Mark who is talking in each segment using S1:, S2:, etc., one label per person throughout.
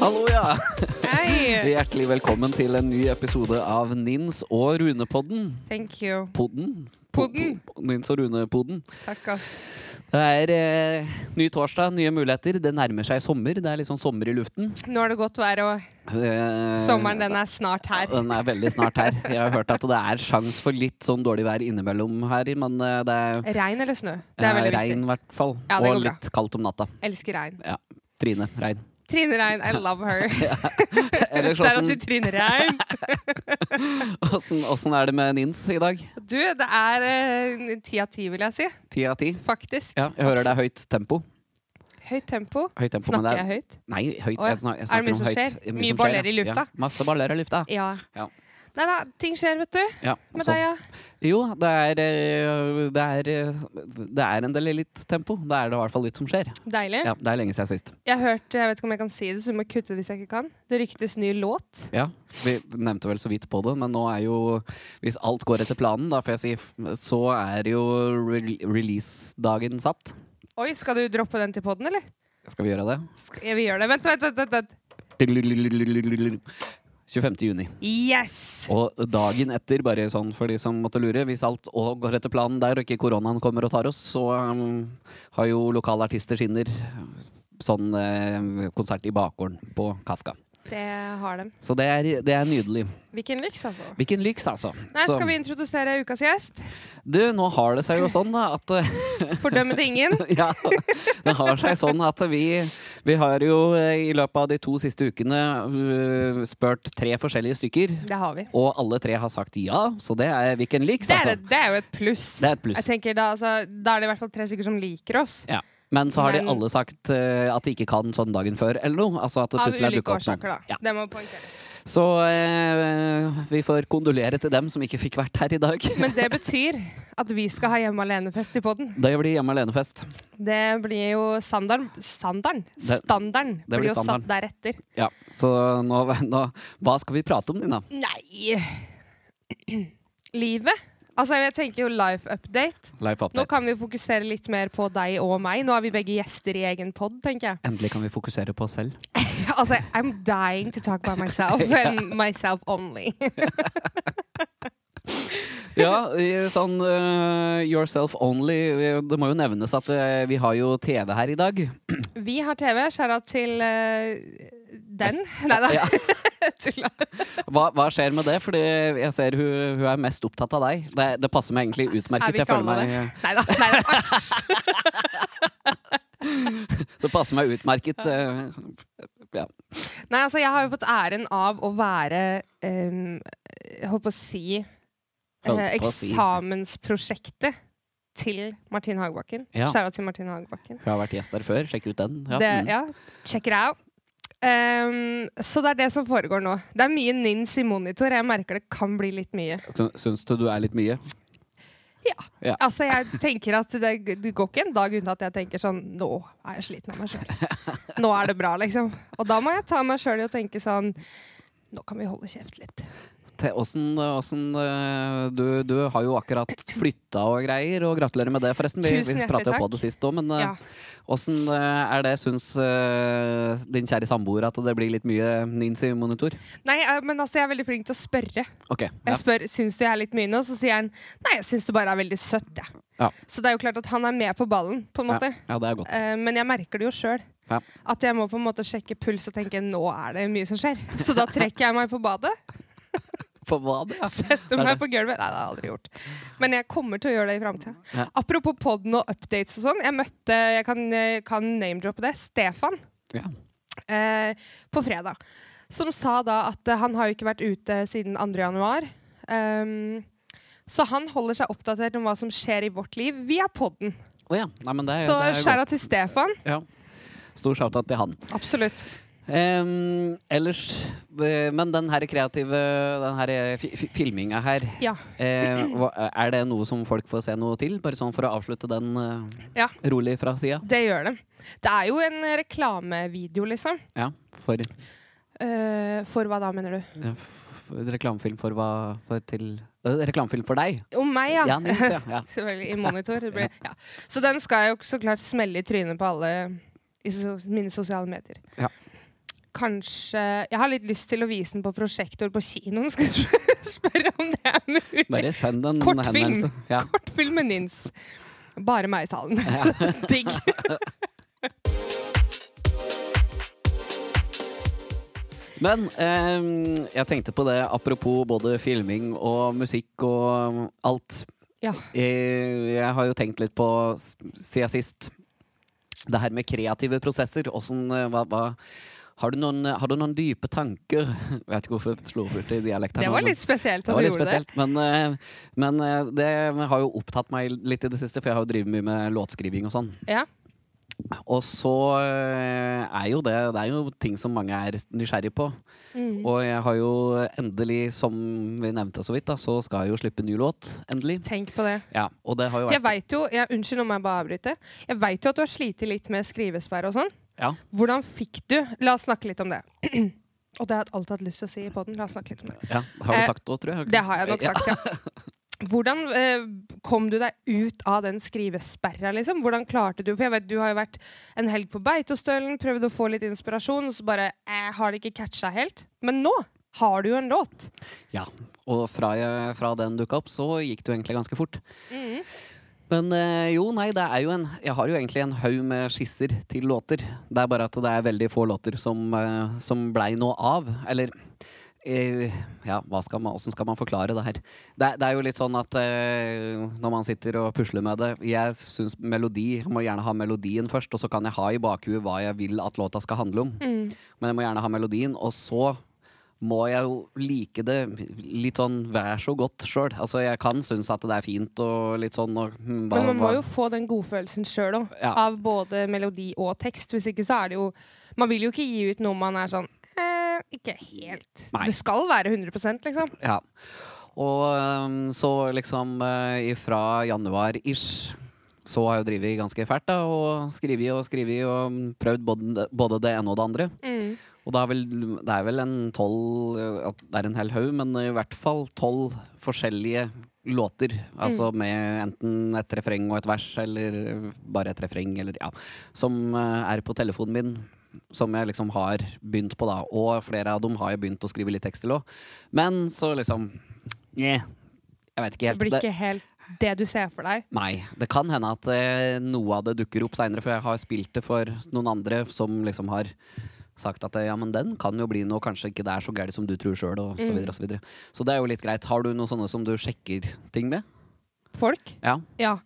S1: Hallo, ja.
S2: Hei!
S1: Hjertelig velkommen til en ny episode av Nins og Runepodden.
S2: Thank you.
S1: Podden.
S2: Podden.
S1: Po- po- Nins og Rune-podden.
S2: Takk, ass.
S1: Det er eh, ny torsdag, nye muligheter. Det nærmer seg sommer. Det er litt sånn sommer i luften.
S2: Nå er det godt vær, og
S1: Eh,
S2: sommeren den er snart her.
S1: Den er veldig snart her. Jeg har hørt at det er sjans for litt sånn dårlig vær innimellom her, men eh, det er,
S2: Regn eller snø? Det er
S1: eh,
S2: veldig
S1: regn
S2: viktig.
S1: i hvert fall.
S2: Ja, det
S1: og
S2: går bra.
S1: litt kaldt om natta.
S2: Elsker regn.
S1: Ja. Trine Rein.
S2: Trine Rein, I love her.
S1: Ellers,
S2: Shout out til
S1: åssen-
S2: Trine Rein.
S1: åssen åssen er det med Nins i dag?
S2: Du, det er eh, ti av ti, vil jeg si.
S1: Ti av ti?
S2: Faktisk.
S1: Ja, jeg hører det er høyt tempo.
S2: Høyt tempo.
S1: Høyt tempo men
S2: Snakker
S1: det er,
S2: jeg høyt?
S1: Nei, høyt.
S2: Å ja.
S1: Jeg snak, jeg
S2: Er det
S1: snakker
S2: mye
S1: om
S2: som
S1: høyt.
S2: skjer?
S1: Det er
S2: Mye
S1: som
S2: baller
S1: skjer,
S2: i
S1: ja.
S2: lufta?
S1: Ja, masse baller i lufta.
S2: Ja.
S1: Ja. Sånn.
S2: Nei da, ting skjer, vet du.
S1: Ja,
S2: Med
S1: så-
S2: deg, ja.
S1: Jo, det er, eh, det, er, eh, det er en del litt tempo. Det er det i hvert fall litt som skjer.
S2: Deilig.
S1: Ja, det er lenge siden sist.
S2: Jeg har hørt, jeg vet ikke om jeg kan si det, så du må kutte det hvis jeg ikke kan. Det ryktes ny låt.
S1: Ja, Vi nevnte vel så vidt på det, men nå er jo Hvis alt går etter planen, da, får jeg si, f- så er jo re releasedagen satt.
S2: Oi, skal du droppe den til poden, eller?
S1: Skal vi gjøre det?
S2: Skal jeg vil gjøre det. Vent, vent, vent, vent, vent.
S1: 25. juni.
S2: Yes!
S1: Og dagen etter, bare sånn for de som måtte lure, hvis alt også går etter planen der og ikke koronaen kommer og tar oss, så um, har jo lokale artister skinner sånn eh, konsert i bakgården på Kafka.
S2: Det har de.
S1: Så det er, det er nydelig.
S2: Hvilken lyks, altså.
S1: Hvilken lyks, altså.
S2: Nei,
S1: Så-
S2: skal vi introdusere ukas gjest?
S1: Du, nå har det seg jo sånn da, at eh,
S2: Fordømme til ingen.
S1: Ja, det har seg sånn at vi, vi har jo eh, i løpet av de to siste ukene eh, spurt tre forskjellige stykker,
S2: Det har vi.
S1: og alle tre har sagt ja, så det er hvilken lyks,
S2: Det er,
S1: altså.
S2: et- det er jo et pluss.
S1: Det er et pluss.
S2: Jeg tenker da, altså, da er det i hvert fall tre stykker som liker oss.
S1: Ja. Men så har
S2: Men-
S1: de alle sagt eh, at de ikke kan sånn dagen før eller noe. Altså at det
S2: Av
S1: plutselig har
S2: ulike
S1: dukket opp
S2: årsaker,
S1: noen.
S2: da.
S1: Ja.
S2: Det må poengteres.
S1: Så eh, vi får kondolere til dem som ikke fikk vært her i dag.
S2: Men det betyr at vi skal ha hjemme alene-fest i poden.
S1: Det blir hjemme alene-fest.
S2: Det blir jo standarden Standarden?
S1: Det-
S2: Standarden
S1: blir
S2: blir jo satt
S1: standarden.
S2: deretter.
S1: Ja. Så nå, nå Hva skal vi prate om, Nina?
S2: Nei Livet? Altså, jeg tenker jo life update.
S1: Life
S2: Nå
S1: update.
S2: kan vi fokusere litt mer på deg og meg. Nå er vi begge gjester i egen pod, tenker jeg.
S1: Endelig kan vi fokusere på oss selv.
S2: Altså, I'm dying to talk about myself and myself only.
S1: Ja, i sånn eh, yourself only. eh, Det må jo nevnes at eh, vi har jo TV her i dag.
S2: Vi har TV. Skjæra til eh, den. Nei da,
S1: Ja.
S2: tulla.
S1: Hva, hva skjer med det? Fordi jeg ser hun, hun er mest opptatt av deg. Det, det passer meg egentlig
S2: Er
S1: utmerket.
S2: vi
S1: Jeg
S2: ikke
S1: føler
S2: alle det?
S1: meg
S2: Nei da. Æsj!
S1: Det passer meg utmerket. eh, Ja.
S2: Nei, altså, jeg har jo fått æren av å være um, Jeg holdt på å si eh,
S1: Holdt på å si.
S2: eksamensprosjektet til Martin Hagebakken.
S1: Ja.
S2: Skjæra til Martin Hagebakken.
S1: Hun har vært gjest der før. Sjekk ut den. Ja.
S2: Det,
S1: mm.
S2: ja, check it out. Um, så det er det som foregår nå. Det er mye nins i monitor. Jeg merker det kan bli litt mye.
S1: Sy- Syns du du er litt mye? Ja.
S2: Altså, jeg tenker at det, det går ikke en dag unna at jeg tenker sånn Nå er jeg sliten av meg sjøl. Nå er det bra, liksom. Og da må jeg ta meg sjøl i å tenke sånn Nå kan vi holde kjeft litt.
S1: Te- Åssen åssen, eh, du, du har jo akkurat flytta og greier, og gratulerer med det, forresten. Vi,
S2: Tusen
S1: vi
S2: hjertelig
S1: pratet jo på
S2: takk.
S1: det sist òg, men eh,
S2: Ja.
S1: åssen er det? Syns eh, din kjære samboer at det blir litt mye nins i monitor?
S2: Nei, eh, men altså, jeg er veldig flink til å spørre.
S1: Ok.
S2: Jeg
S1: Ja.
S2: spør syns du jeg er litt mye nå, så sier han nei, jeg syns det bare er veldig søtt, jeg.
S1: Ja.
S2: Så det er jo klart at han er med på ballen, på
S1: Ja,
S2: en måte.
S1: ja, det er godt.
S2: Eh, men jeg merker det jo sjøl.
S1: Ja.
S2: At jeg må på en måte sjekke puls og tenke nå er det mye som skjer. Så da trekker jeg meg på badet.
S1: For hva det? Ja.
S2: Setter
S1: Det er
S2: meg
S1: det.
S2: på gulvet. Nei, det har jeg aldri gjort. Men jeg kommer til å gjøre det i framtida.
S1: Ja.
S2: Apropos podden og updates og sånn. Jeg møtte, jeg kan, eh, kan name-droppe det, Stefan
S1: Ja.
S2: eh, på fredag. Som sa da at eh, han har jo ikke vært ute siden 2. januar. Um, så han holder seg oppdatert om hva som skjer i vårt liv via podden.
S1: Å ja. Nei, men det,
S2: Så
S1: det er
S2: skjæra til Stefan.
S1: godt. Ja. Stor shout-out til han.
S2: Absolutt.
S1: Em, ellers eh, Men den her kreative Den her eh, fi- fi- filminga her
S2: Ja.
S1: eh, hva- Er det noe som folk får se noe til? Bare sånn for å avslutte den eh,
S2: Ja.
S1: rolig fra sida?
S2: Det gjør det. Det er jo en reklamevideo, liksom.
S1: Ja. For,
S2: Eh, for hva da, mener du?
S1: eh, f- for reklamefilm for hva for til eh, Reklamefilm for deg?
S2: Om meg,
S1: Ja, Nils, ja. ja.
S2: Selvfølgelig. I monitor. Det blir, ja. Så den skal jo så klart smelle i trynet på alle i so mine sosiale medier.
S1: Ja.
S2: kanskje Jeg har litt lyst til å vise den på prosjektor på kinoen. Skal jeg spørre om det er mulig?
S1: Bare send en
S2: Kortfilm.
S1: henvendelse. Ja.
S2: Kortfilmen dins. Bare meg i salen. Digg.
S1: Men eh, jeg tenkte på det apropos både filming og musikk og um, alt.
S2: Ja.
S1: Eh, jeg har jo tenkt litt på, s- siden sist, det her med kreative prosesser. Åssen eh, hva, hva har du, noen, har du noen dype tanker? Jeg vet ikke hvorfor jeg slo bort i dialekt. her
S2: Det
S1: nå,
S2: var
S1: men-
S2: litt spesielt
S1: Det
S2: at
S1: var
S2: du
S1: litt
S2: gjorde det.
S1: spesielt, men, eh, men eh, det har jo opptatt meg litt i det siste, for jeg har jo drevet mye med låtskriving og sånn.
S2: Ja.
S1: Og så eh, er jo det Det er jo ting som mange er nysgjerrig på.
S2: Mm.
S1: Og jeg har jo endelig, som vi nevnte så vidt, da, så skal jeg jo slippe ny låt. Endelig.
S2: Tenk på det.
S1: Ja, og det har jo
S2: For Jeg
S1: vært
S2: vet jo, jeg, unnskyld om jeg bare avbryter. Jeg vet jo at du har slitt litt med skrivesperre og sånn.
S1: Ja.
S2: Hvordan fikk du La oss snakke litt om det. og det har jeg alltid hatt lyst til å si i poden. La oss snakke litt om det.
S1: ja, Har du
S2: Eh,
S1: sagt det òg, tror jeg?
S2: Det har jeg nok sagt, ja. Hvordan eh, kom du deg ut av den skrivesperra, liksom? Hvordan klarte du For jeg vet du har jo vært en helg på Beitostølen, prøvd å få litt inspirasjon, og så bare eh, har det ikke catcha helt. Men nå har du jo en låt.
S1: Ja. Og fra, jeg, fra den dukka opp, så gikk det jo egentlig ganske fort.
S2: Mm.
S1: Men eh, jo, nei, det er jo en Jeg har jo egentlig en haug med skisser til låter. Det er bare at det er veldig få låter som, eh, som blei noe av. Eller eh, Ja, hva skal man, hvordan skal man forklare det her? Det, er- det er jo litt sånn at eh, når man sitter og pusler med det Jeg syns melodi Jeg må gjerne ha melodien først, og så kan jeg ha i bakhuet hva jeg vil at låta skal handle om.
S2: Mm.
S1: Men jeg må gjerne ha melodien, og så må jeg jo like det litt sånn vær så godt sjøl. Altså, jeg kan synes at det er fint og litt sånn og hm, hva-
S2: Men man må
S1: hva-
S2: jo få den godfølelsen sjøl òg,
S1: Ja.
S2: av både melodi og tekst. Hvis ikke så er det jo Man vil jo ikke gi ut noe man er sånn eh, Ikke helt.
S1: Nei.
S2: Det skal være 100 liksom.
S1: Ja. Og øhm, så liksom øh, ifra januar-ish så har jeg jo drevet ganske fælt, da, og skrevet og skrevet og mm, prøvd både, både det ene og det andre.
S2: Mm.
S1: Og det er vel, det er vel en tolv øh, at Det er en hel haug, men i hvert fall tolv forskjellige låter. Altså
S2: Mm.
S1: med enten et refreng og et vers, eller bare et refreng, eller ja. Som øh, er på telefonen min. Som jeg liksom har begynt på, da. Og flere av dem har jeg begynt å skrive litt tekst til òg. Men så liksom Nje. Jeg vet ikke
S2: Det
S1: helt.
S2: blir
S1: Det,
S2: ikke helt det du ser for deg.
S1: nei, det kan hende at eh, noe av det dukker opp seinere, for jeg har spilt det for noen andre som liksom har sagt at eh, ja, men den kan jo bli noe, kanskje ikke det er så gærent som du tror sjøl, og så
S2: Mm.
S1: videre og så videre. Så det er jo litt greit. Har du noen sånne som du sjekker ting med?
S2: Folk.
S1: Ja.
S2: Ja.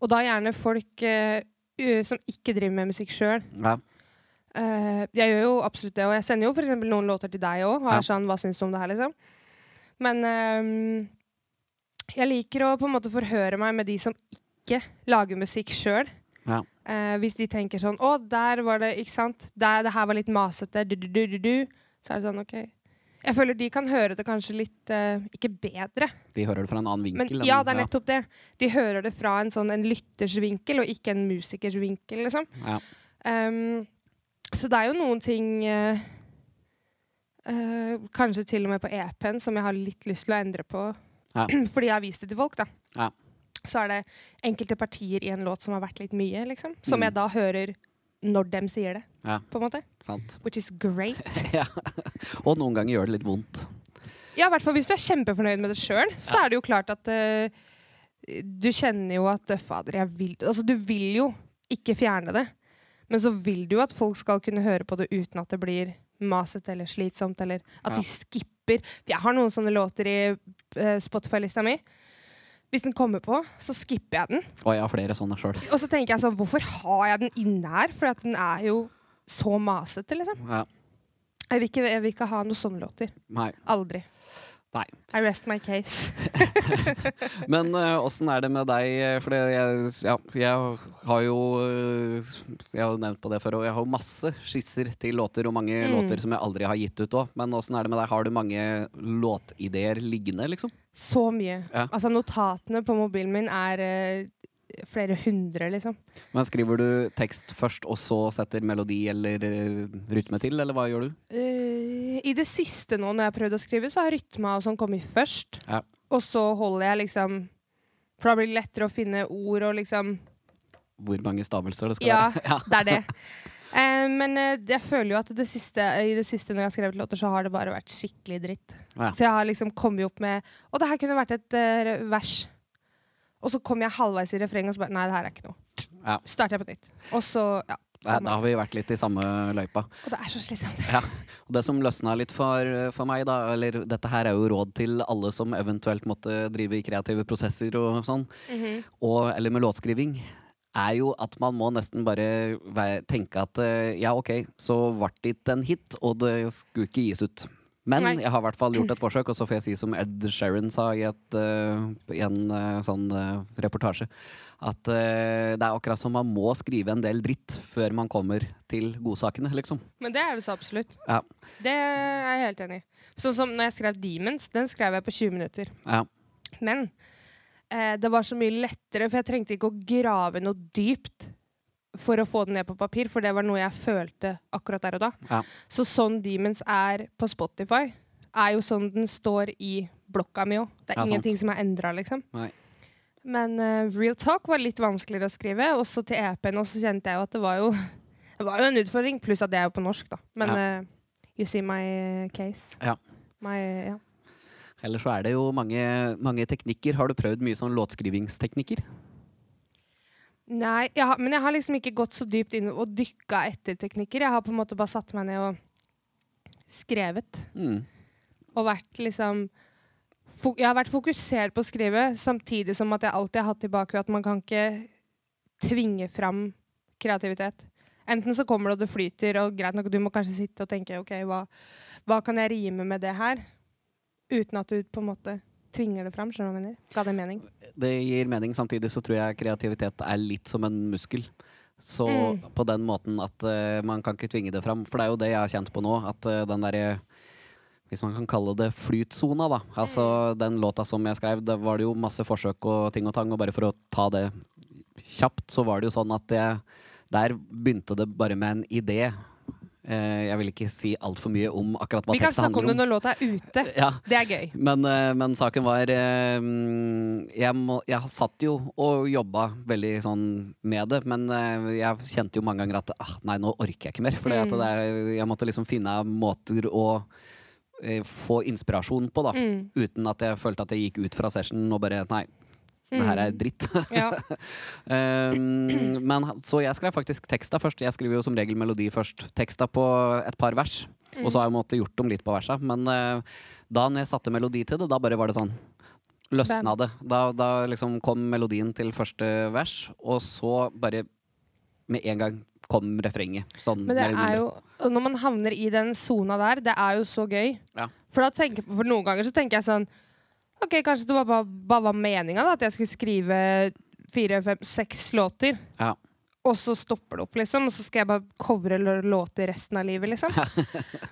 S2: Og da gjerne folk eh, u- som ikke driver med musikk sjøl.
S1: ja.
S2: Eh, jeg gjør jo absolutt det, og jeg sender jo f.eks. noen låter til deg òg. Og er
S1: Ja.
S2: sånn, hva syns du om det her, liksom? Men ehm, jeg liker å på en måte forhøre meg med de som ikke lager musikk sjøl.
S1: Ja.
S2: Eh, hvis de tenker sånn Å, der var det Ikke sant? Der, det her var litt masete. Du, du, du, du, du. Så er det sånn, OK. Jeg føler de kan høre det kanskje litt eh, Ikke bedre,
S1: De hører det fra en annen
S2: men
S1: vinkel. enn-
S2: ja, det er nettopp det. De hører det fra en sånn en lytters vinkel, og ikke en musikers vinkel, liksom.
S1: Ja.
S2: Ehm, så det er jo noen ting eh, eh, Kanskje til og med på EP-en som jeg har litt lyst til å endre på.
S1: Ja.
S2: Fordi jeg har vist det til folk, da.
S1: Ja.
S2: Så er det enkelte partier i en låt som har vært litt mye, liksom. Som
S1: Mm.
S2: jeg da hører når dem sier det,
S1: Ja.
S2: på en måte.
S1: Sant.
S2: Which is great.
S1: ja. Og noen ganger gjør det litt vondt.
S2: Ja, i hvert fall hvis du er kjempefornøyd med det sjøl, så er det jo klart at eh, du kjenner jo at eh, Fader, jeg vil Altså, du vil jo ikke fjerne det, men så vil du jo at folk skal kunne høre på det uten at det blir masete eller slitsomt, eller at
S1: Ja.
S2: de skipper. Jeg har noen sånne låter i eh, Spotify-lista mi. Hvis den kommer på, så skipper jeg den.
S1: Og jeg har flere sånne sjøl.
S2: Og så tenker jeg sånn, hvorfor har jeg den inne her? For at den er jo så masete, liksom.
S1: Ja.
S2: Jeg vil ikke, jeg vil ikke ha noen sånne låter.
S1: Nei.
S2: Aldri.
S1: Nei.
S2: I rest my case.
S1: Men eh, åssen er det med deg? eh, For det- jeg, ja, jeg har jo eh, Jeg har jo nevnt på det før, og jeg har jo masse skisser til låter, og mange
S2: Mm.
S1: låter som jeg aldri har gitt ut òg. Men åssen er det med deg? Har du mange låtideer liggende, liksom?
S2: Så mye.
S1: Ja.
S2: Altså Notatene på mobilen min er eh, flere hundre, liksom.
S1: Men skriver du tekst først, og så setter melodi eller eh, rytme til, eller hva gjør du?
S2: Eh, I det siste nå, når jeg har prøvd å skrive, så har rytma og sånn kommet først.
S1: Ja.
S2: Og så holder jeg liksom For da blir det lettere å finne ord og liksom
S1: Hvor mange stavelser det skal
S2: Ja,
S1: være? Ja.
S2: det er det. Eh, men eh, jeg føler jo at det siste, i det siste når jeg har skrevet låter, så har det bare vært skikkelig dritt.
S1: Ja.
S2: Så jeg har liksom kommet opp med Og det her kunne vært et eh, vers. Og så kom jeg halvveis i refrenget, og så bare Nei, det her er ikke noe.
S1: Ja.
S2: Så starter jeg på nytt. Og så Ja.
S1: Nei,
S2: samme.
S1: da har vi vært litt i samme løypa.
S2: Og det er så slitsomt.
S1: Ja. Og det som løsna litt for, for meg, da, eller dette her er jo råd til alle som eventuelt måtte drive i kreative prosesser og sånn, og, eller med låtskriving, er jo at man må nesten bare væ- tenke at eh, ja, ok, så ble det en hit, og det skulle ikke gis ut. Men
S2: Nei.
S1: jeg har i hvert fall gjort et forsøk, og så får jeg si som Ed Sheeran sa i, et, eh, i en eh, sånn eh, reportasje, at eh, det er akkurat som man må skrive en del dritt før man kommer til godsakene, liksom.
S2: Men det er det så absolutt.
S1: Ja.
S2: Det er jeg helt enig i. Sånn som når jeg skrev Demons, den skrev jeg på 20 minutter.
S1: Ja.
S2: Men eh, det var så mye lettere, for jeg trengte ikke å grave noe dypt for å få det ned på papir, for det var noe jeg følte akkurat der og da.
S1: Ja.
S2: Så sånn Demons er på Spotify, er jo sånn den står i blokka mi òg. Det er
S1: Ja, sant.
S2: ingenting som er endra, liksom.
S1: Nei.
S2: Men eh, Real Talk var litt vanskeligere å skrive, og så til EP-en også kjente jeg jo at det var jo, det var jo en utfordring, pluss at det er jo på norsk, da. Men eh, you see my case.
S1: Ja.
S2: My, ja.
S1: Ellers så er det jo mange, mange teknikker. Har du prøvd mye sånn låtskrivingsteknikker?
S2: Nei, jeg har, men jeg har liksom ikke gått så dypt inn og dykka etter teknikker. Jeg har på en måte bare satt meg ned og skrevet.
S1: Mm.
S2: Og vært liksom fo- Jeg har vært fokusert på å skrive, samtidig som at jeg alltid har hatt i bakhodet at man kan ikke tvinge fram kreativitet. Enten så kommer det, og det flyter, og greit nok, du må kanskje sitte og tenke OK, hva, hva kan jeg rime med det her? Uten at du på en måte tvinger det fram. Skjønner du hva jeg mener? Ga det mening?
S1: Det gir mening. Samtidig så tror jeg kreativitet er litt som en muskel. Så
S2: Mm.
S1: på den måten at eh, man kan ikke tvinge det fram. For det er jo det jeg har kjent på nå. At eh, den derre Hvis man kan kalle det flytsona, da. Altså
S2: Mm.
S1: den låta som jeg skrev, det var det jo masse forsøk og ting og tang. Og bare for å ta det kjapt, så var det jo sånn at jeg Der begynte det bare med en idé. Eh, jeg vil ikke si altfor mye om akkurat hva
S2: Vi kan
S1: teksten
S2: snakke om
S1: handler
S2: det når låta er ute.
S1: Ja,
S2: Det er gøy.
S1: Men, eh, men saken var eh, mm, jeg, må, jeg satt jo og jobba veldig sånn med det, men eh, jeg kjente jo mange ganger at ah, nei, nå orker jeg ikke mer. For
S2: Mm.
S1: jeg måtte liksom finne måter å eh, få inspirasjon på, da.
S2: Mm.
S1: Uten at jeg følte at jeg gikk ut fra session og bare nei, det her
S2: Mm.
S1: er dritt.
S2: Ja.
S1: Um, men ha- så jeg skrev faktisk teksta først. Jeg skriver jo som regel melodi først. Teksta på et par vers. Og så har jeg måttet gjort om litt på versa. Men eh, da når jeg satte melodi til det, da bare var det sånn. Løsna det. Da, da liksom kom melodien til første vers, og så bare med en gang kom refrenget. Sånn
S2: Men det
S1: mer eller mindre.
S2: er jo og Når man havner i den sona der, det er jo så gøy.
S1: Ja.
S2: For, da tenker, for noen ganger så tenker jeg sånn OK, kanskje det var bare, bare var meninga at jeg skulle skrive fire, fem, seks låter.
S1: Ja.
S2: Og så stopper det opp, liksom. Og så skal jeg bare covre lå- låter resten av livet, liksom.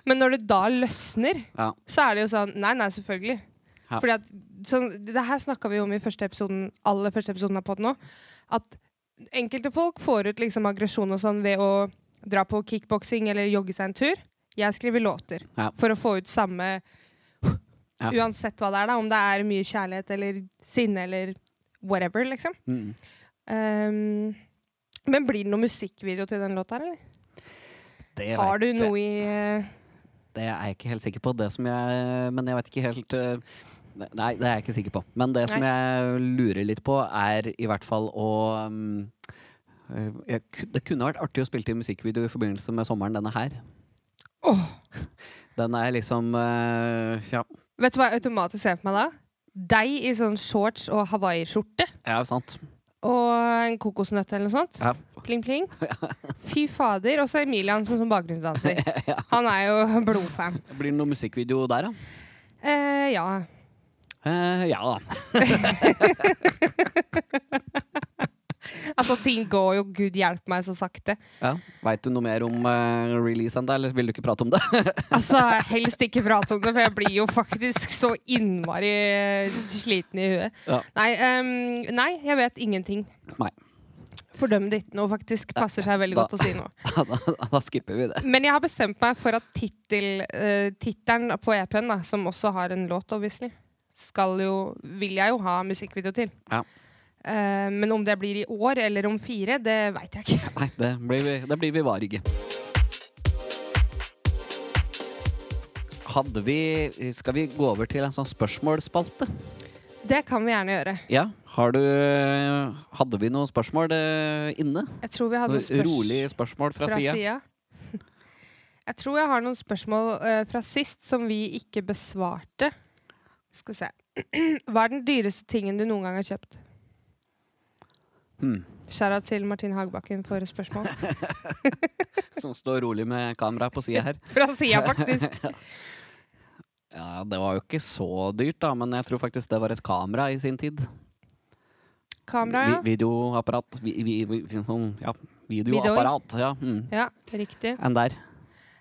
S2: Men når det da løsner,
S1: Ja.
S2: så er det jo sånn Nei, nei, selvfølgelig.
S1: Ja.
S2: Fordi at sånn, Det her snakka vi om i første episoden, aller første episoden av podden òg. At enkelte folk får ut liksom aggresjon og sånn ved å dra på kickboksing eller jogge seg en tur. Jeg skriver låter
S1: Ja.
S2: for å få ut samme
S1: Ja.
S2: Uansett hva det er, da. Om det er mye kjærlighet eller sinne eller whatever, liksom.
S1: Mm.
S2: Ehm, men blir det noen musikkvideo til den låta, her, eller?
S1: Det
S2: Har du
S1: vet jeg-
S2: noe i eh,
S1: Det er jeg ikke helt sikker på. Det som jeg, men jeg vet ikke helt eh, Nei, det er jeg ikke sikker på. Men det som jeg lurer litt på, er i hvert fall å um, eh, jeg, ku- Det kunne vært artig å spille til musikkvideo i forbindelse med sommeren, denne her.
S2: Åh,
S1: Den er liksom eh, Ja,
S2: Vet du hva jeg automatisk ser for meg da? Deg i sånn shorts og hawaiiskjorte.
S1: ja sant.
S2: Og en kokosnøtt eller noe sånt.
S1: Ja.
S2: Pling, pling. Fy fader. Og så Emilian som, som bakgrunnsdanser. Han er jo blodfan.
S1: Blir det noe musikkvideo der, da?
S2: Eh, ja.
S1: Eh, ja da.
S2: Altså, ting går jo gud hjelpe meg så sakte.
S1: Ja. Veit du noe mer om eh, release enn det, eller vil du ikke prate om det?
S2: Altså, helst ikke prate om det, for jeg blir jo faktisk så innmari eh, sliten i huet.
S1: Ja.
S2: Nei, ehm, nei, jeg vet ingenting.
S1: Nei.
S2: Fordøm det ikke noe, faktisk. Passer seg veldig
S1: Da-
S2: godt å si noe.
S1: da, da, da skipper vi det.
S2: Men jeg har bestemt meg for at tittel, eh, tittelen på EP-en, da, som også har en låt, obviously, skal jo, vil jeg jo ha musikkvideo til.
S1: Ja.
S2: Eh, men om det blir i år eller om fire, det veit jeg ikke.
S1: Nei, det blir vi, det blir vi varige. Hadde vi Skal vi gå over til en sånn spørsmålsspalte?
S2: Det kan vi gjerne gjøre.
S1: Ja. Har du Hadde vi noen spørsmål eh, inne?
S2: Jeg tror vi hadde noen
S1: Noen
S2: spørs-
S1: Rolige spørsmål fra,
S2: fra
S1: sida.
S2: sida. Jeg tror jeg har noen spørsmål eh, fra sist som vi ikke besvarte. Skal vi se. Hva er den dyreste tingen du noen gang har kjøpt?
S1: Hmm.
S2: Skjæra til Martin Hagbakken for spørsmål.
S1: Som står rolig med kamera på sida her.
S2: Fra sida, faktisk.
S1: Ja, Det var jo ikke så dyrt, da, men jeg tror faktisk det var et kamera i sin tid.
S2: Kamera,
S1: Vi,
S2: ja.
S1: videoapparat vi, vi, vi, sånn, Ja, videoapparat. Ja. Mm.
S2: Ja, riktig.
S1: Enn der.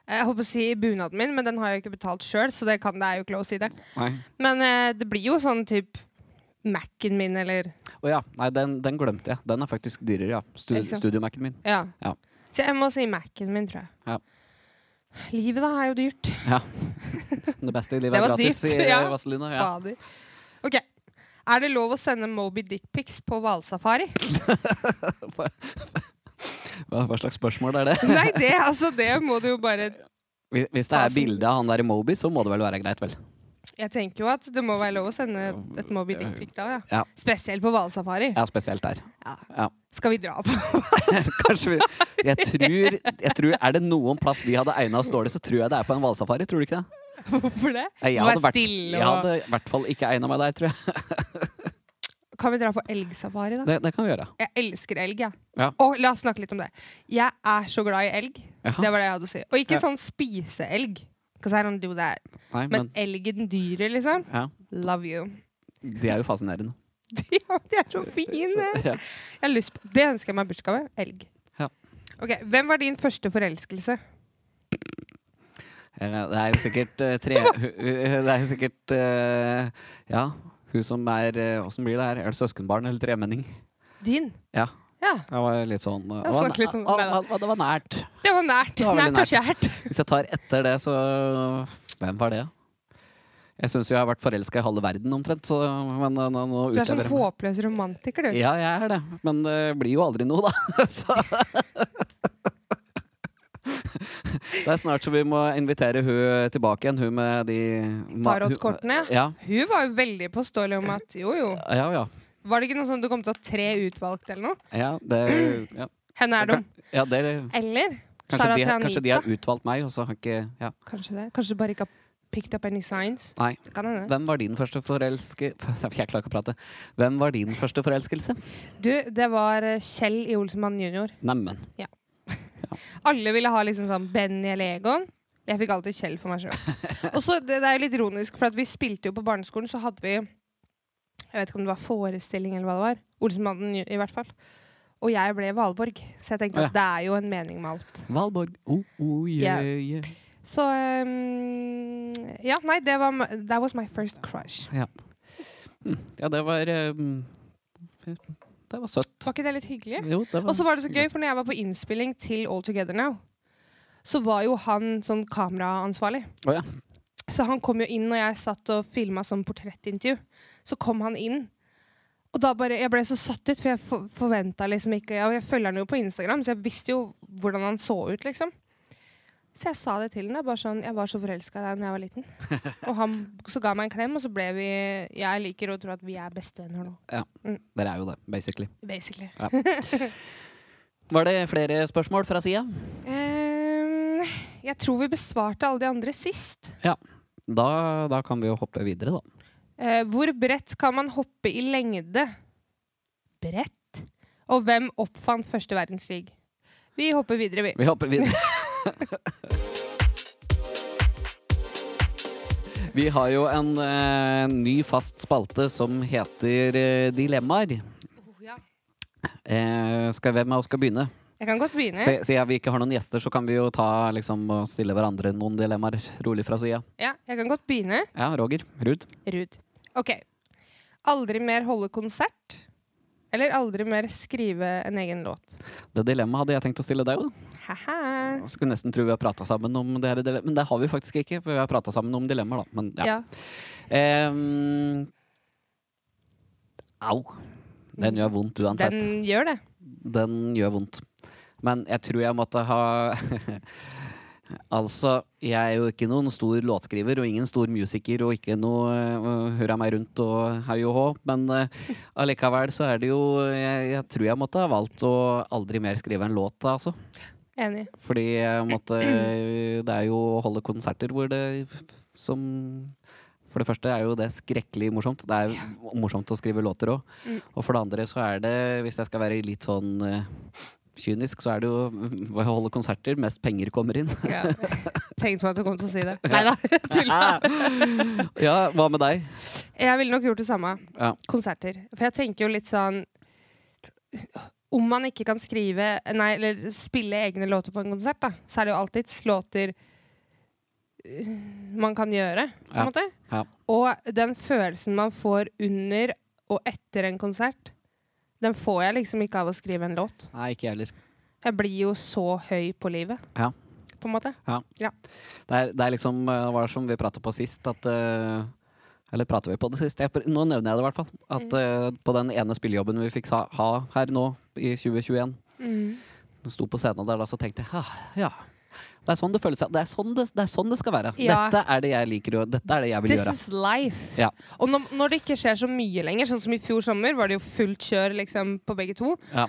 S2: Jeg holdt på å si bunaden min, men den har jeg jo ikke betalt sjøl, så det, kan, det er jo ikke lov å si det.
S1: Nei.
S2: Men eh, det blir jo sånn typ Mac-en min, eller
S1: Å ja. Nei, den, den glemte jeg. Den er faktisk dyrere, ja. Stu,
S2: Ikke sant?
S1: Studiomac-en min.
S2: Ja.
S1: Ja.
S2: Så jeg må si Mac-en min, tror jeg.
S1: Ja.
S2: Livet, da, er jo dyrt.
S1: Det beste i livet er
S2: Det var
S1: gratis,
S2: dypt,
S1: sier
S2: ja.
S1: Vazelina. Ja.
S2: Fader. Ok. Er det lov å sende Moby Dickpics på hvalsafari?
S1: Hva, hva slags spørsmål er det?
S2: Nei, det, altså, det må du jo bare
S1: Hvis, hvis det er bilde av han der i Moby, så må det vel være greit, vel?
S2: Jeg tenker jo at det må være lov å sende et Moby Dickpic da, ja.
S1: Ja.
S2: Spesielt på hvalsafari.
S1: Ja, spesielt der.
S2: Skal vi dra på
S1: Kanskje vi jeg tror, jeg tror, Er det noen plass vi hadde egna oss dårlig, så tror jeg det er på en hvalsafari, tror du ikke det?
S2: Hvorfor det?
S1: Nei, Jeg
S2: Vær
S1: hadde, vært,
S2: stille
S1: jeg
S2: og-
S1: hadde i hvert fall ikke egna meg der, tror jeg.
S2: Kan vi dra på elgsafari, da?
S1: Det, det kan vi gjøre.
S2: Jeg elsker elg, jeg.
S1: Ja.
S2: Og la oss snakke litt om det. Jeg er så glad i elg.
S1: Jaha.
S2: Det var det jeg hadde å si. Og ikke
S1: Ja.
S2: sånn spiseelg. 'Cause I don't do that.
S1: Nei,
S2: Men
S1: men
S2: elgen dyret, liksom.
S1: ja,
S2: Love you.
S1: De er jo fascinerende.
S2: De er- de er så fine!
S1: Ja.
S2: Jeg har lyst på, det ønsker jeg meg i bursdagsgave. Elg.
S1: Ja.
S2: Ok, Hvem var din første forelskelse?
S1: Eh, Det er jo sikkert eh, tre hu- hu- Det er jo sikkert eh, Ja, hun som er eh, Åssen blir det her? Er det søskenbarn eller tremenning?
S2: Din?
S1: Ja.
S2: Ja,
S1: Det var litt sånn eh,
S2: Jeg
S1: å,
S2: snakket litt om-
S1: å,
S2: nei da.
S1: å, Det var nært.
S2: Det var nært.
S1: Det var veldig
S2: nært og kjært.
S1: Hvis jeg tar etter det, så Hvem var det? Jeg syns jo jeg har vært forelska i halve verden omtrent, så men eh, nå, nå
S2: Du er
S1: utleverer
S2: sånn
S1: jeg meg.
S2: håpløs romantiker, du.
S1: Ja, jeg er det. Men eh, det blir jo aldri noe, da. Så. Det er snart så vi må invitere hun tilbake igjen, hun med de ma- hun-
S2: Tarotkortene.
S1: Ja,
S2: Hun var jo veldig påståelig om at jo, jo.
S1: ja, ja.
S2: Var det ikke noe sånn du kom til å ha tre utvalgt eller noe?
S1: ja det ja.
S2: Henne er dum.
S1: Ja, det,
S2: Eller?
S1: kanskje,
S2: Sarah
S1: de,
S2: Tianita.
S1: kanskje de har utvalgt meg, og så har ikke ja.
S2: Kanskje det. Kanskje du bare ikke har picked up any signs.
S1: Nei.
S2: Det kan hende.
S1: Hvem var din første forelske... Jeg klarer ikke å prate. Hvem var din første forelskelse?
S2: Du, det var eh, Kjell i Olsenmann jr.
S1: Neimen.
S2: Alle ville ha liksom sånn Benny eller Egon. Jeg fikk alltid Kjell for meg sjøl. Og så, det, det er jo litt ironisk, for at vi spilte jo på barneskolen, så hadde vi Jeg vet ikke om det var forestilling eller hva det var. Olsenmannen i hvert fall. Og jeg ble Valborg, så jeg
S1: Å,
S2: tenkte
S1: ja.
S2: at det er jo en mening med alt.
S1: Valborg. Oh, oh, yeah, yeah.
S2: Så ehm, Ja, nei, det var m- That was my first crush.
S1: Hm, Ja, det var ehm, Det var søtt.
S2: Var ikke det litt hyggelig?
S1: Jo, det
S2: Og
S1: var
S2: så var det så gøy, for når jeg var på innspilling til All Together Now, så var jo han sånn kameraansvarlig.
S1: Å ja.
S2: Så han kom jo inn når jeg satt og filma sånn portrettintervju. Så kom han inn. Og da bare, Jeg ble så satt ut, for jeg for, forventa liksom ikke Og jeg følger han jo på Instagram, så jeg visste jo hvordan han så ut, liksom. Så jeg sa det til han, da, bare sånn, Jeg var så forelska i deg da jeg var liten. Og han så ga meg en klem, og så ble vi Jeg liker å tro at vi er bestevenner nå,
S1: Dere er jo det, basically.
S2: basically.
S1: Var det flere spørsmål fra sida?
S2: Ehm, jeg tror vi besvarte alle de andre sist.
S1: Da, da kan vi jo hoppe videre, da.
S2: Eh, hvor bredt kan man hoppe i lengde? Bredt? Og hvem oppfant første verdenskrig? Vi hopper videre, vi.
S1: Vi hopper videre. Vi har jo en eh, ny fast spalte som heter eh, Dilemmaer. Eh, skal, hvem av oss skal begynne?
S2: Jeg kan godt begynne.
S1: Se- Siden vi ikke har noen gjester, så kan vi jo ta, liksom, og stille hverandre noen dilemmaer rolig fra sida.
S2: Ja, jeg kan godt begynne.
S1: Ja, Roger. Ruud.
S2: Rud. OK. Aldri mer holde konsert. Eller aldri mer skrive en egen låt.
S1: Det dilemmaet hadde jeg tenkt å stille deg, da.
S2: Haha.
S1: Jeg Skulle nesten tro vi har prata sammen om det her dilemmaet, men det har vi faktisk ikke. for Vi har prata sammen om dilemmaer, da. Men ja.
S2: Ja.
S1: Ehm, au. Den gjør vondt uansett. Den...
S2: Den gjør det.
S1: gjør vondt. Men jeg tror jeg måtte ha Altså, jeg er jo ikke noen stor låtskriver og ingen stor musiker og ikke noe uh, hurra meg rundt og hei og hå, men eh, allikevel så er det jo jeg, jeg tror jeg måtte ha valgt å aldri mer skrive en låt, altså.
S2: Enig.
S1: Fordi jeg måtte Det er jo å holde konserter hvor det som For det første er jo det skrekkelig morsomt. Det er jo morsomt å skrive låter òg. Og for det andre så er det, hvis jeg skal være litt sånn eh, kynisk, så er det jo ved å holde konserter mest penger kommer inn.
S2: Ja. Tenkte meg at du kom til å si det. Nei da, tulla.
S1: Ah. ja, hva med deg?
S2: Jeg ville nok gjort det samme.
S1: Ja.
S2: Konserter. For jeg tenker jo litt sånn Om man ikke kan skrive Nei, eller spille egne låter på en konsert, da, så er det jo alltids låter øh, man kan gjøre, på en
S1: Ja.
S2: måte.
S1: Ja.
S2: Og den følelsen man får under og etter en konsert, den får jeg liksom ikke av å skrive en låt.
S1: Nei, ikke jeg heller.
S2: Jeg blir jo så høy på livet,
S1: Ja.
S2: på en måte.
S1: Det er, det er liksom eh, hva som vi prata på sist, at eh, Eller prater vi på det sist? Jeg, pr- nå nevner jeg det i hvert fall. At eh, på den ene spillejobben vi fikk sa- ha her nå i 2021, Hun sto på scenen der da, så tenkte jeg «Ah, ja. Det er sånn det føles. Det er sånn det, det, er sånn det skal være.
S2: Ja.
S1: Dette er det jeg liker å Dette er det jeg vil
S2: This
S1: gjøre.
S2: is life.
S1: Ja.
S2: Og når, når det ikke skjer så mye lenger, sånn som i fjor sommer, var det jo fullt kjør liksom, på begge to.
S1: Ja.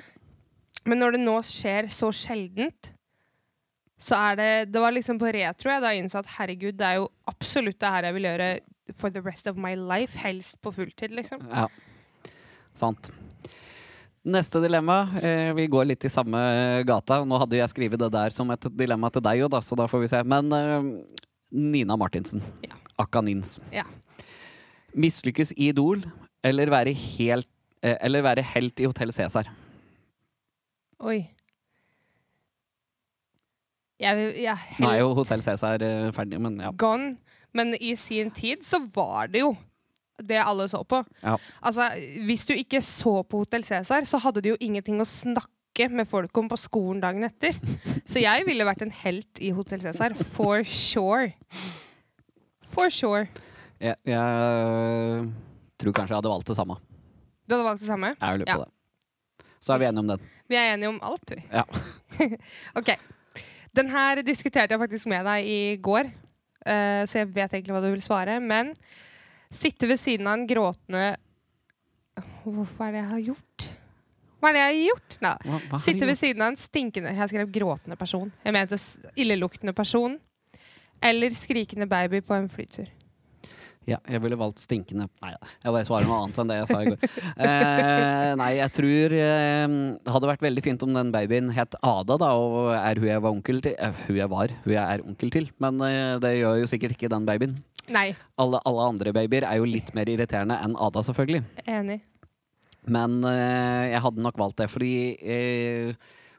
S2: Men når det nå skjer så sjeldent, så er det Det var liksom på retro jeg da innså at herregud, det er jo absolutt det her jeg vil gjøre for the rest of my life. Helst på fulltid, liksom.
S1: Ja. Sant. Neste dilemma. Eh, vi går litt i samme gata. Nå hadde jeg skrevet det der som et dilemma til deg òg, da, så da får vi se. Men eh, Nina Martinsen.
S2: Ja.
S1: Akka Nins.
S2: Ja.
S1: Mislykkes i Idol eller være helt eh, eller være helt i Hotell Cæsar.
S2: Oi. Jeg vil ja,
S1: Nå er
S2: hel-
S1: jo Hotell Cæsar eh, ferdig, men ja.
S2: Gone. Men i sin tid så var det jo det alle så på.
S1: Ja.
S2: Altså, hvis du ikke så på Hotell Cæsar, så hadde du jo ingenting å snakke med folk om på skolen dagen etter. Så jeg ville vært en helt i Hotell Cæsar. For sure. For sure.
S1: Jeg, jeg tror kanskje jeg hadde valgt det samme.
S2: Du hadde valgt det samme?
S1: Jeg lurer
S2: Ja.
S1: på det. Så er vi enige om den.
S2: Vi er enige om alt, vi.
S1: Ja.
S2: ok. Den her diskuterte jeg faktisk med deg i går, eh, så jeg vet egentlig hva du vil svare. Men sitte ved siden av en gråtende Hvorfor er det jeg har gjort? Hva er det jeg har gjort? Nei.
S1: Hva, hva har du
S2: Sitte ved
S1: gjort?
S2: siden av en stinkende Jeg skrev gråtende person. Jeg mente s- illeluktende person. Eller skrikende baby på en flytur.
S1: ja, jeg ville valgt stinkende Nei da, jeg bare svarer noe annet enn det jeg sa i går. Eh, nei, jeg tror eh, Det hadde vært veldig fint om den babyen het Ada, da, og er hun jeg var onkel til. Eh, hun jeg var, hun jeg er onkel til. Men eh, det gjør jo sikkert ikke den babyen.
S2: Nei.
S1: Alle, alle andre babyer er jo litt mer irriterende enn Ada, selvfølgelig.
S2: Enig.
S1: Men eh, jeg hadde nok valgt det, fordi eh,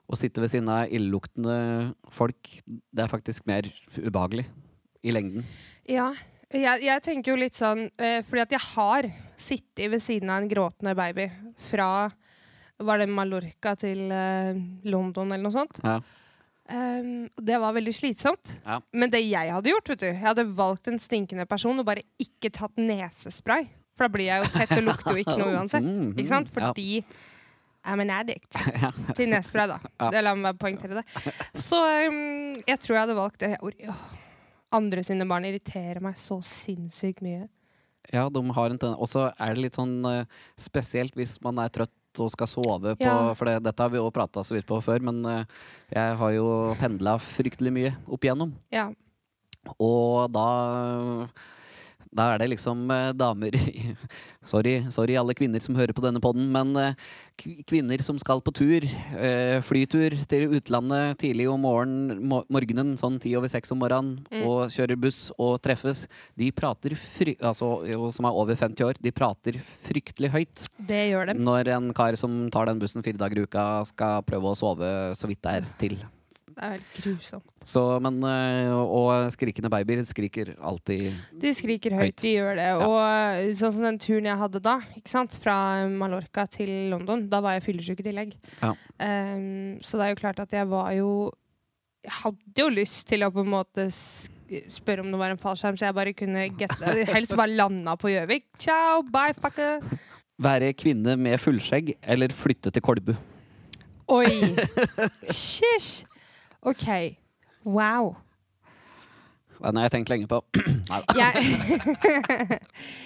S1: å sitte ved siden av illeluktende folk, det er faktisk mer ubehagelig i lengden.
S2: Ja. Jeg, jeg tenker jo litt sånn eh, Fordi at jeg har sittet ved siden av en gråtende baby fra Var det Mallorca til eh, London eller noe sånt?
S1: Ja.
S2: Um, det var veldig slitsomt.
S1: Ja.
S2: Men det jeg hadde gjort, vet du Jeg hadde valgt en stinkende person og bare ikke tatt nesespray. For da blir jeg jo tett og lukter jo ikke noe uansett.
S1: Mhm,
S2: Ikke sant?
S1: ja.
S2: Fordi I'm an addict til nesespray, da. Det- La meg poengtere det. Så um, jeg tror jeg hadde valgt det. Jeg or- åh. Andre sine barn irriterer meg så sinnssykt mye.
S1: Ja, de har en tendens. Og så er det litt sånn eh, spesielt hvis man er trøtt og skal sove på
S2: Ja.
S1: For det, dette har vi òg prata så vidt på før, men eh, jeg har jo pendla fryktelig mye opp igjennom.
S2: Ja.
S1: Og da da er det liksom eh, damer i- sorry, sorry, alle kvinner som hører på denne podden, men eh, kv- kvinner som skal på tur, eh, flytur til utlandet tidlig om morgenen, mo- morgenen sånn ti over seks om morgenen,
S2: Mm.
S1: og kjører buss og treffes, de prater, fry altså, jo, som er over 50 år, de prater fryktelig høyt.
S2: Det gjør dem.
S1: Når en kar som tar den bussen fire dager i uka, skal prøve å sove så vidt det er til.
S2: Det er helt grusomt.
S1: Så, men, eh, og skrikende babyer skriker alltid
S2: De skriker
S1: Høyt.
S2: høyt, de gjør det. Og sånn som den turen jeg hadde da, ikke sant? fra Mallorca til London, da var jeg fyllesyk i tillegg.
S1: Ja.
S2: Ehm, så det er jo klart at jeg var jo Jeg hadde jo lyst til å på en måte sk- spørre om det var en fallskjerm, så jeg bare kunne get, helst bare landa på Gjøvik. Ciao, bye, fucker!
S1: Være kvinne med fullskjegg eller flytte til Kolbu?
S2: Oi! Shish! OK. Wow.
S1: Den har jeg tenkt lenge på. Neida.
S2: Jeg,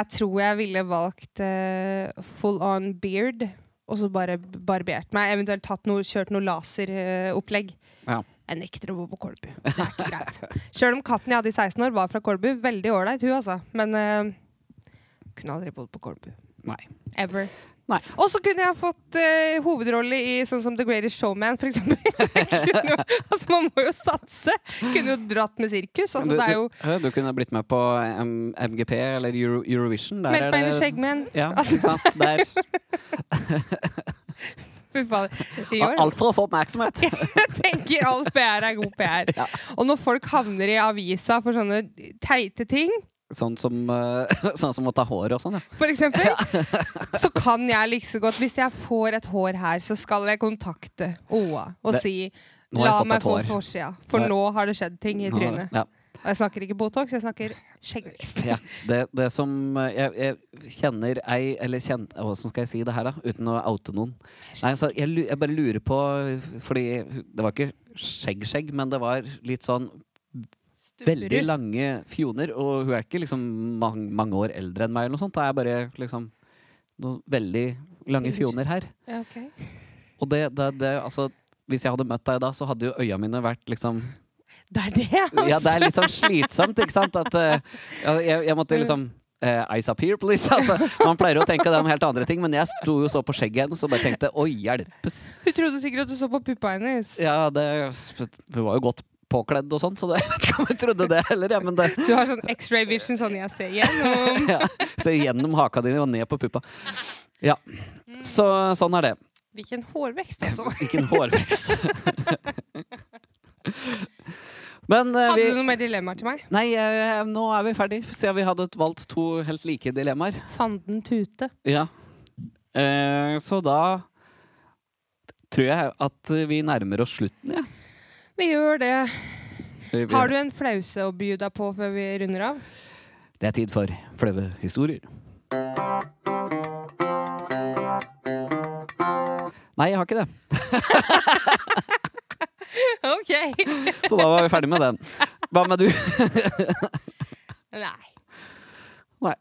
S2: jeg tror jeg ville valgt eh, full on beard, og så bare barbert meg. Eventuelt tatt noe, kjørt noe laseropplegg.
S1: Ja.
S2: Jeg nekter å bo på Kolbu. Det er ikke greit. Sjøl om katten jeg hadde i 16 år, var fra Kolbu. Veldig ålreit, hun altså. Men eh, kunne aldri bodd på Kolbu.
S1: Nei.
S2: Ever.
S1: Nei.
S2: Og så kunne jeg fått eh, hovedrolle i sånn som The Greatest Showman, for eksempel. Jeg kunne jo- altså, man må jo satse. Kunne jo dratt med sirkus. Altså,
S1: du,
S2: det er jo
S1: du, du kunne blitt med på em, MGP eller Euro Eurovision. Der
S2: Meldt
S1: er
S2: meg inn i
S1: det-
S2: skjeggmenn.
S1: Ja,
S2: Altså-
S1: ikke sant? Der.
S2: Fy faen. I år.
S1: Alt for å få oppmerksomhet.
S2: Jeg tenker all PR er god PR.
S1: Ja.
S2: Og når folk havner i avisa for sånne teite ting,
S1: Sånn som, eh, sånn som å ta hår og sånn, ja.
S2: for eksempel, så kan jeg liksom godt Hvis jeg får et hår her, så skal jeg kontakte OA og
S1: Det-
S2: si
S1: Nå har jeg
S2: La
S1: fått
S2: meg
S1: et
S2: få
S1: hår."
S2: forsida, for
S1: Nå-
S2: nå har det skjedd ting i trynet.
S1: Ja.
S2: Og jeg snakker ikke Botox, jeg snakker skjeggvekst.
S1: Ja, det, det som eh, jeg, jeg kjenner ei Eller kjent, hvordan skal jeg si det her, da? Uten å oute noen. Nei, altså, jeg, lu- jeg bare lurer på Fordi det var ikke skjegg-skjegg, men det var litt sånn veldig lange fjoner. Og hun er ikke liksom mang, mange år eldre enn meg, eller noe sånt. Det er bare liksom noen veldig lange fjoner her.
S2: Ja, ok.
S1: Og det, det, det altså hvis jeg hadde møtt deg da, så hadde jo øya mine vært liksom
S2: Det er det, altså!
S1: ja, det er litt sånn slitsomt, ikke sant? At, eh, ja, jeg, jeg måtte liksom eh, Eyes up here, please. Altså, man pleier å tenke det om helt andre ting, men jeg sto jo så på skjegget hennes og bare tenkte å hjelpes.
S2: Hun trodde sikkert at du så på puppa hennes.
S1: Ja, det, hun var jo godt påkledd og sånn, så det, jeg vet ikke om hun trodde det heller. Ja, men det,
S2: Du har sånn X-ray vision, sånn jeg ser gjennom.
S1: ja, så gjennom haka dine og ned på puppa. Ja, så sånn er det.
S2: Hvilken hårvekst, altså!
S1: Ikke en hårvekst. Men eh,
S2: Hadde
S1: vi,
S2: du noen mer dilemmaer til meg?
S1: Nei, eh, nå er vi ferdig, siden vi hadde valgt to helt like dilemmaer.
S2: Fanden tute.
S1: Ja. Eh, så da tror jeg at vi nærmer oss slutten, ja.
S2: Vi gjør det. Har du en flause å by deg på før vi runder av?
S1: Det er tid for flaue historier. Nei, jeg har ikke det.
S2: OK.
S1: Så da var vi ferdig med den. Hva med du?
S2: Nei.
S1: Nei.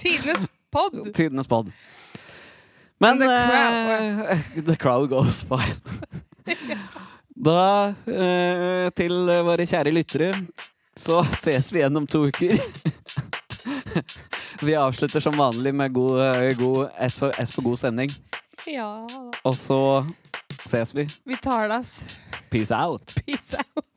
S2: Tidenes pod.
S1: Tidenes pod. Men
S2: And the
S1: eh, The crowd goes by. Da, eh, til våre kjære lyttere, så ses vi igjen om to uker. Vi avslutter som vanlig med god, eh, god S, for, S for god stemning.
S2: Ja da.
S1: Og så ses vi.
S2: Vi tar det, ass.
S1: Peace out.
S2: Peace out.